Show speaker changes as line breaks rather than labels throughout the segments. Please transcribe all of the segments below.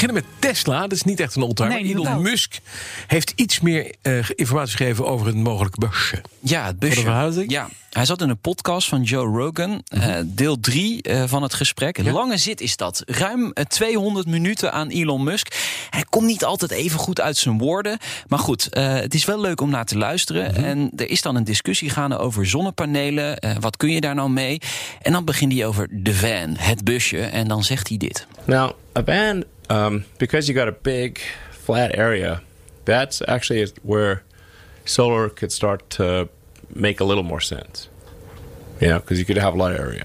beginnen met Tesla. Dat is niet echt een all-time.
Nee,
Elon
inderdaad.
Musk heeft iets meer eh, informatie gegeven over het mogelijke busje.
Ja, het busje.
Voor de verhuizing? Mhm.
Ja, hij zat in een podcast van Joe Rogan. eh, deel 3 van het gesprek. Een Lange zit is dat. Ruim eh, 200 minuten aan Elon Musk. Hij komt niet altijd even goed uit zijn woorden. Maar goed, eh, het is wel leuk om naar te luisteren.
Mhm.
En er is dan een discussie gaande over zonnepanelen. Eh, wat kun je daar nou mee? En dan begint hij over de van, het busje. En dan zegt hij dit.
Now, a band, um, because you got a big flat area, that's actually where solar could start to make a little more sense. You know, because you could have a lot of area.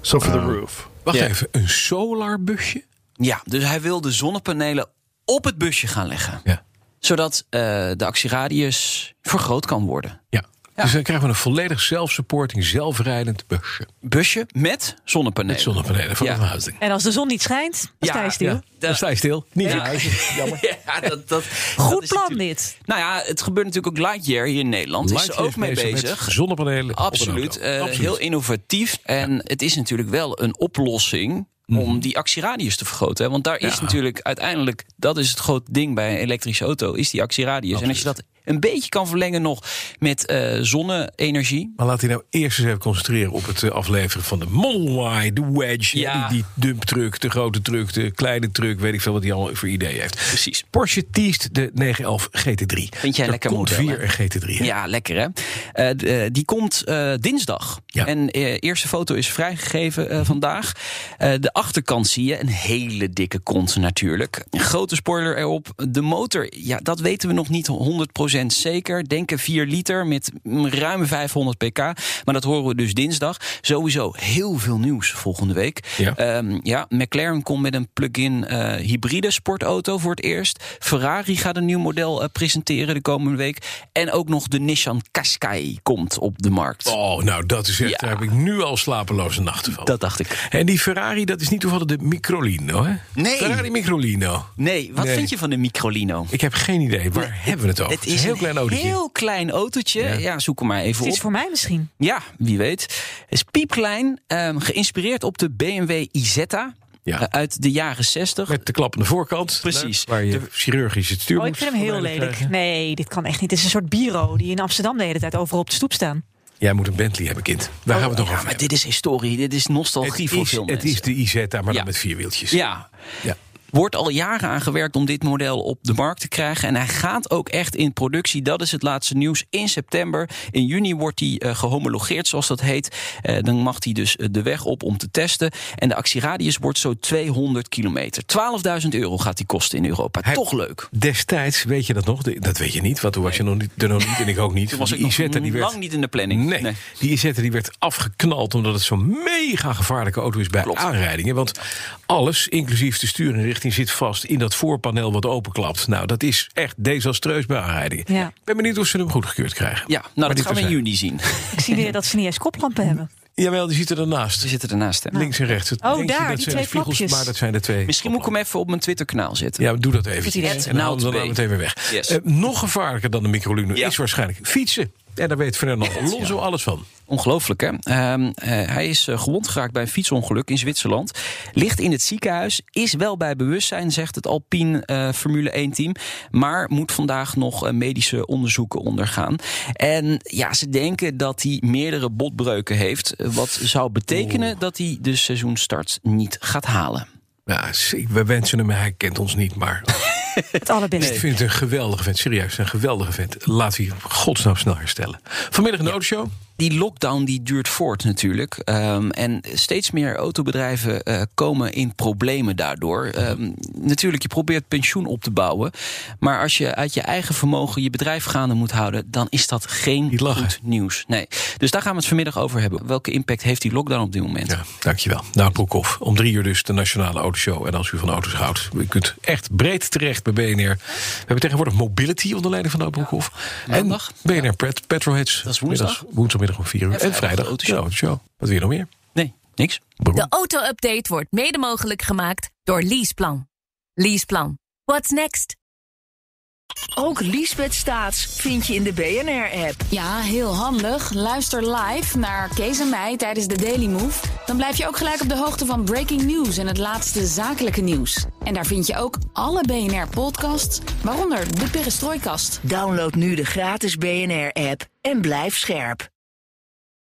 So for the roof.
Ehm, Wacht
Ja.
even, een solar busje?
Ja, dus hij wil de zonnepanelen op het busje gaan leggen.
Ja.
Zodat eh, de actieradius vergroot kan worden.
ja. Dus dan krijgen we een volledig zelfsupporting, zelfrijdend busje.
busje met zonnepanelen.
Met zonnepanelen voor
Ja.
de verhuizing.
En als de zon niet schijnt, dan
Ja,
sta je stil.
ja.
Dan sta je stil. Niet
Ja.
verhuizen.
Ja, dat, dat,
Goed
dat is
plan
natuurlijk-
dit.
Nou ja, het gebeurt natuurlijk ook Lightyear hier in Nederland. is er
Lightyear
ook mee
met
bezig.
Zonnepanelen. op een
Absoluut,
auto.
eh,
Absoluut.
Heel innovatief. En het is natuurlijk wel een oplossing
Mhm.
om die actieradius te vergroten. hè. Want daar is natuurlijk uiteindelijk, dat is het grote ding bij een elektrische auto, is die actieradius. En als je dat een beetje kan verlengen nog met eh zonne-energie.
Maar laat hij nou eerst eens even concentreren op het eh, afleveren van de Model Y, de Wedge,
Ja.
hè, die, die dumptruck, de grote truck, de kleine truck, weet ik veel wat hij allemaal voor idee heeft.
Precies.
Porsche teest de 911 GT3.
Vind jij
er
lekker
komt
model,
weer een GT3. hè?
Ja, lekker hè. Eh, d- eh, die komt eh, dinsdag.
Ja.
En eh, eerste foto is vrijgegeven eh, vandaag. Eh, de achterkant zie je een hele dikke kont natuurlijk. Een grote spoiler erop. De motor, ja, dat weten we nog niet 100% zeker. Denken 4 liter met mm, ruim 500 pk. Maar dat horen we dus dinsdag. Sowieso heel veel nieuws volgende week.
Ja.
Ehm, ja, McLaren komt met een plug-in eh, hybride sportauto voor het eerst. Ferrari gaat een nieuw model eh, presenteren de komende week. En ook nog de Nissan Qashqai komt op de markt.
Oh, nou dat is echt,
Ja.
daar heb ik nu al slapeloze nachten van.
Dat dacht ik.
En die Ferrari, dat is niet toevallig de Microlino, hè?
Nee.
Ferrari Microlino.
Nee, wat
Nee.
vind je van de Microlino?
Ik heb geen idee, waar hebben we het over?
Het is
een heel klein autootje.
heel klein autootje. Ja. zoek hem maar even
Het
op.
is voor mij misschien.
Ja, wie weet. Het is piepklein, ehm, geïnspireerd op de BMW Isetta
Ja.
eh, uit de jaren 60.
Met de klappende voorkant.
Precies.
Waar je chirurgisch het stuur
Oh, ik
moet
vind hem heel
volledig
lelijk.
krijgen.
Nee, dit kan echt niet. Het is een soort bureau die in Amsterdam de hele tijd overal op de stoep staan.
Jij moet een Bentley hebben, kind. Daar gaan we toch over
Oh, Ja, Ah, maar
hebben.
dit is historie, dit is
Het
nostalgie voor
is,
veel
het
mensen.
is de Isetta, maar
Ja.
dan met vier wieltjes.
Ja.
Ja.
Wordt al jaren aan gewerkt om dit model op de markt te krijgen. En hij gaat ook echt in productie. Dat is het laatste nieuws in september. In juni wordt hij eh, gehomologeerd, zoals dat heet. Eh, dan mag hij dus eh, de weg op om te testen. En de actieradius wordt zo 200 kilometer. 12.000 euro gaat die kosten in Europa.
Hij-
Toch leuk.
Destijds, weet je dat nog? De- Dat weet je niet, want toen was je nog niet, er nog niet en ik ook niet.
Toen was
Die
ik nog
Isetta, die werd-
lang niet in de planning.
Nee,
Nee.
die Isetta die werd afgeknald omdat het zo'n mega gevaarlijke auto is bij
Klopt.
aanrijdingen. Want alles, inclusief de sturingrichting, zit vast in dat voorpaneel wat openklapt. Nou, dat is echt desastreus bij aanrijdingen.
Ja.
Ik ben benieuwd of ze hem goedgekeurd krijgen.
Ja,
Maar
nou dat
dit
gaan we in
terzijde.
juni zien.
Ik zie weer dat ze niet eens koplampen hebben.
Jawel, die zitten ernaast.
Ze zitten ernaast. hè.
Links en rechts. Het
Oh,
linkse,
daar,
dat
die
zijn
twee
de spiegels,
knopjes.
Maar dat zijn de twee.
Misschien moet ik hem even op mijn Twitter-kanaal zetten.
Ja, doe dat eventjes.
idee.
En dan
Nou,
houden we
het
dan
B.
meteen weer weg.
Yes.
Eh, nog gevaarlijker dan de microluno
Ja.
is waarschijnlijk fietsen. En daar weet Fernando Alonso alles van.
Ongelooflijk, hè? Ehm, eh, hij is eh, gewond geraakt bij een fietsongeluk in Zwitserland. Ligt in het ziekenhuis, is wel bij bewustzijn, zegt het Alpine eh, Formule 1-team. Maar moet vandaag nog eh, medische onderzoeken ondergaan. En ja, ze denken dat hij meerdere botbreuken heeft. eh, Wat zou betekenen dat hij de seizoenstart niet gaat halen.
Ja, zie, we wensen hem, hij kent ons niet, maar
Het allerbeste.
ik vind het een geweldige vent. Serieus, een geweldige vent. Laat hij godsnaam snel herstellen. Vanmiddag een autoshow.
die lockdown die duurt voort natuurlijk. Ehm, en steeds meer autobedrijven eh, komen in problemen daardoor. Ehm, natuurlijk, je probeert pensioen op te bouwen. Maar als je uit je eigen vermogen je bedrijf gaande moet houden... dan is dat geen
Niet lachen.
goed nieuws. Nee. Dus daar gaan we het vanmiddag over hebben. Welke impact heeft die lockdown op dit moment?
Ja, dankjewel. Nou, Broekhoff, om drie uur dus de Nationale Autoshow. En als u van auto's houdt, u kunt echt breed terecht bij BNR. We hebben tegenwoordig Mobility onder leiding van Nout Broekhoff. en
Maandag.
BNR Pet, Petrolheads.
Dat is woensdag.
Middags- woensdagmiddag om vier uur. En,
vrijdag
vrijdag
de
de
Autoshow.
Autoshow. Wat wil je nog meer?
Nee, niks.
De auto-update wordt mede mogelijk gemaakt door Leaseplan. Leaseplan. What's next?
Ook Liesbeth Staats vind je in de BNR-app.
Ja, heel handig. Luister live naar Kees en mij tijdens de Daily Move. Dan blijf je ook gelijk op de hoogte van breaking news en het laatste zakelijke nieuws. En daar vind je ook alle BNR-podcasts, waaronder de Perestrooikast.
Download nu de gratis BNR-app en blijf scherp.